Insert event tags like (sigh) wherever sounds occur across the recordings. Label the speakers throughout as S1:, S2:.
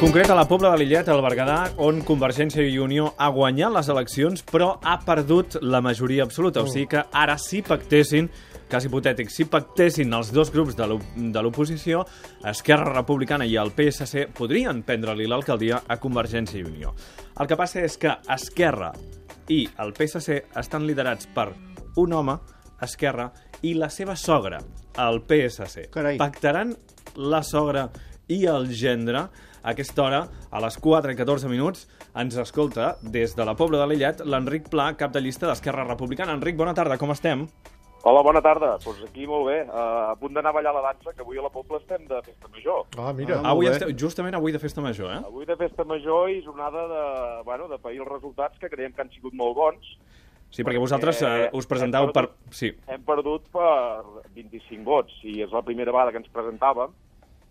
S1: concret a la Pobla de l'Illet, al Berguedà, on Convergència i Unió ha guanyat les eleccions, però ha perdut la majoria absoluta. O sigui que ara si pactessin, cas hipotètic, si pactessin els dos grups de l'op- de l'oposició, Esquerra Republicana i el PSC podrien prendre-li l'alcaldia a Convergència i Unió. El que passa és que Esquerra i el PSC estan liderats per un home, Esquerra, i la seva sogra, el PSC.
S2: Carai.
S1: Pac- pactaran la sogra i el gendre. A aquesta hora, a les 4 i 14 minuts, ens escolta des de la Pobla de l'Illet l'Enric Pla, cap de llista d'Esquerra Republicana. Enric, bona tarda, com estem?
S3: Hola, bona tarda. Doncs pues aquí molt bé. Uh, a punt d'anar a ballar la dansa, que avui a la Pobla estem de festa major.
S2: Ah, mira.
S1: Ah, avui estem, justament avui de festa major, eh?
S3: Avui de festa major i jornada de, bueno, de pair els resultats, que creiem que han sigut molt bons.
S1: Sí, perquè vosaltres eh, us presentau per... Sí,
S3: Hem perdut per 25 vots, i és la primera vegada que ens presentàvem,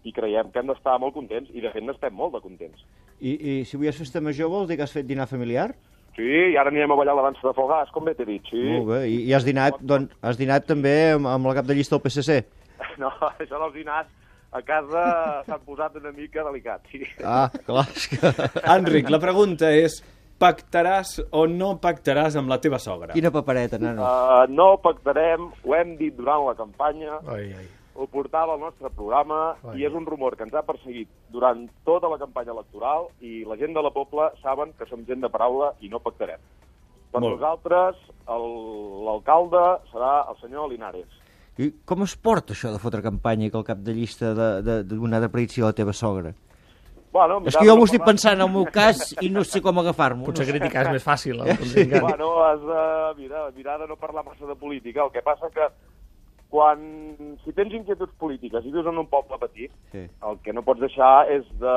S3: i creiem que hem d'estar molt contents, i de fet n'estem molt de contents.
S2: I, I si avui és festa major vols dir que has fet dinar familiar?
S3: Sí, i ara anirem a ballar la dansa de Fogàs, com bé t'he dit, sí.
S2: Molt bé. I, i has, dinat, doncs, has dinat també amb, amb la cap de llista del PSC?
S3: (laughs) No, això dels dinars a casa s'han posat una mica delicat, sí.
S2: Ah, clar, és
S1: (laughs)
S2: que...
S1: Enric, la pregunta és pactaràs o no pactaràs amb la teva sogra?
S2: Quina papereta, nano.
S3: Uh, no pactarem, ho hem dit durant la campanya,
S4: Ai, ai.
S3: ho portava al nostre programa
S4: Ai.
S3: i és un rumor que ens ha perseguit durant tota la campanya electoral i la gent de la Pobla saben que som gent de paraula i no pactarem. Per
S1: Molt bé.
S3: nosaltres, el- l'alcalde serà el senyor Linares.
S2: I com es porta això de fotre campanya i que el cap de llista de- de- d'una de, predicció a la teva sogra?
S3: Bueno,
S2: És que jo m'ho estic
S3: mirava-
S2: pensant en el meu cas i no sé com agafar-m'ho.
S4: Potser
S2: no sé.
S4: criticar és més
S2: (laughs)
S4: fàcil. El sí.
S3: Bueno, has de mirar, mirar de no parlar massa de política. El que passa que quan, si tens inquietuds polítiques i vius en un poble petit,
S2: Sí.
S3: el que no pots deixar és de,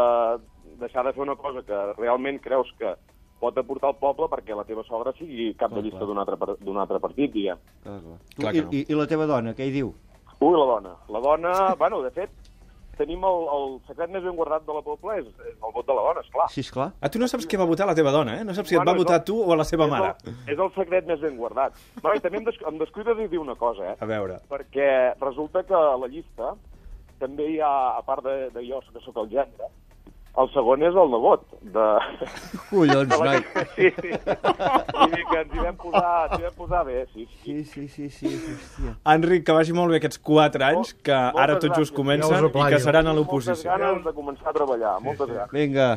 S3: deixar de fer una cosa que realment creus que pot aportar al poble perquè la teva sogra sigui cap de llista d'un altre, par- d'un altre partit, diguem.
S2: Clar, clar. Tu,
S1: Clar
S2: i,
S1: que no.
S2: i, I la teva dona, què hi diu?
S3: Ui, la dona. La dona, bueno, de fet, tenim el, el secret més ben guardat de la poble és, és el vot de la dona, esclar.
S2: Sí, esclar.
S1: Ah, tu no saps què va votar la teva dona, eh? No saps si et va
S3: Bueno,
S1: votar
S3: és
S1: a
S3: el-
S1: tu o a la seva
S3: és
S1: mare.
S3: El, és el secret més ben guardat. Però i també em, des, em descuida de dir una cosa, eh?
S1: A veure.
S3: perquè resulta que a la llista també hi ha, a part de, de jo, que sóc el gendre, el segon és el nebot. De...
S2: Collons, noi.
S3: (laughs) Sí, sí. Vull dir que ens hi vam posar, ens hi vam posar bé, sí. sí.
S2: Sí, sí, sí, sí, hòstia.
S1: Enric, que vagi molt bé aquests 4 anys,
S3: Mol-
S1: que ara
S3: moltes
S1: tot just
S3: gràcies.
S1: comencen
S4: Ja us ho
S1: i que
S4: planyo.
S1: seran a
S3: Moltes
S1: l'oposició.
S3: ganes de començar a treballar, moltes gràcies.
S2: Vinga.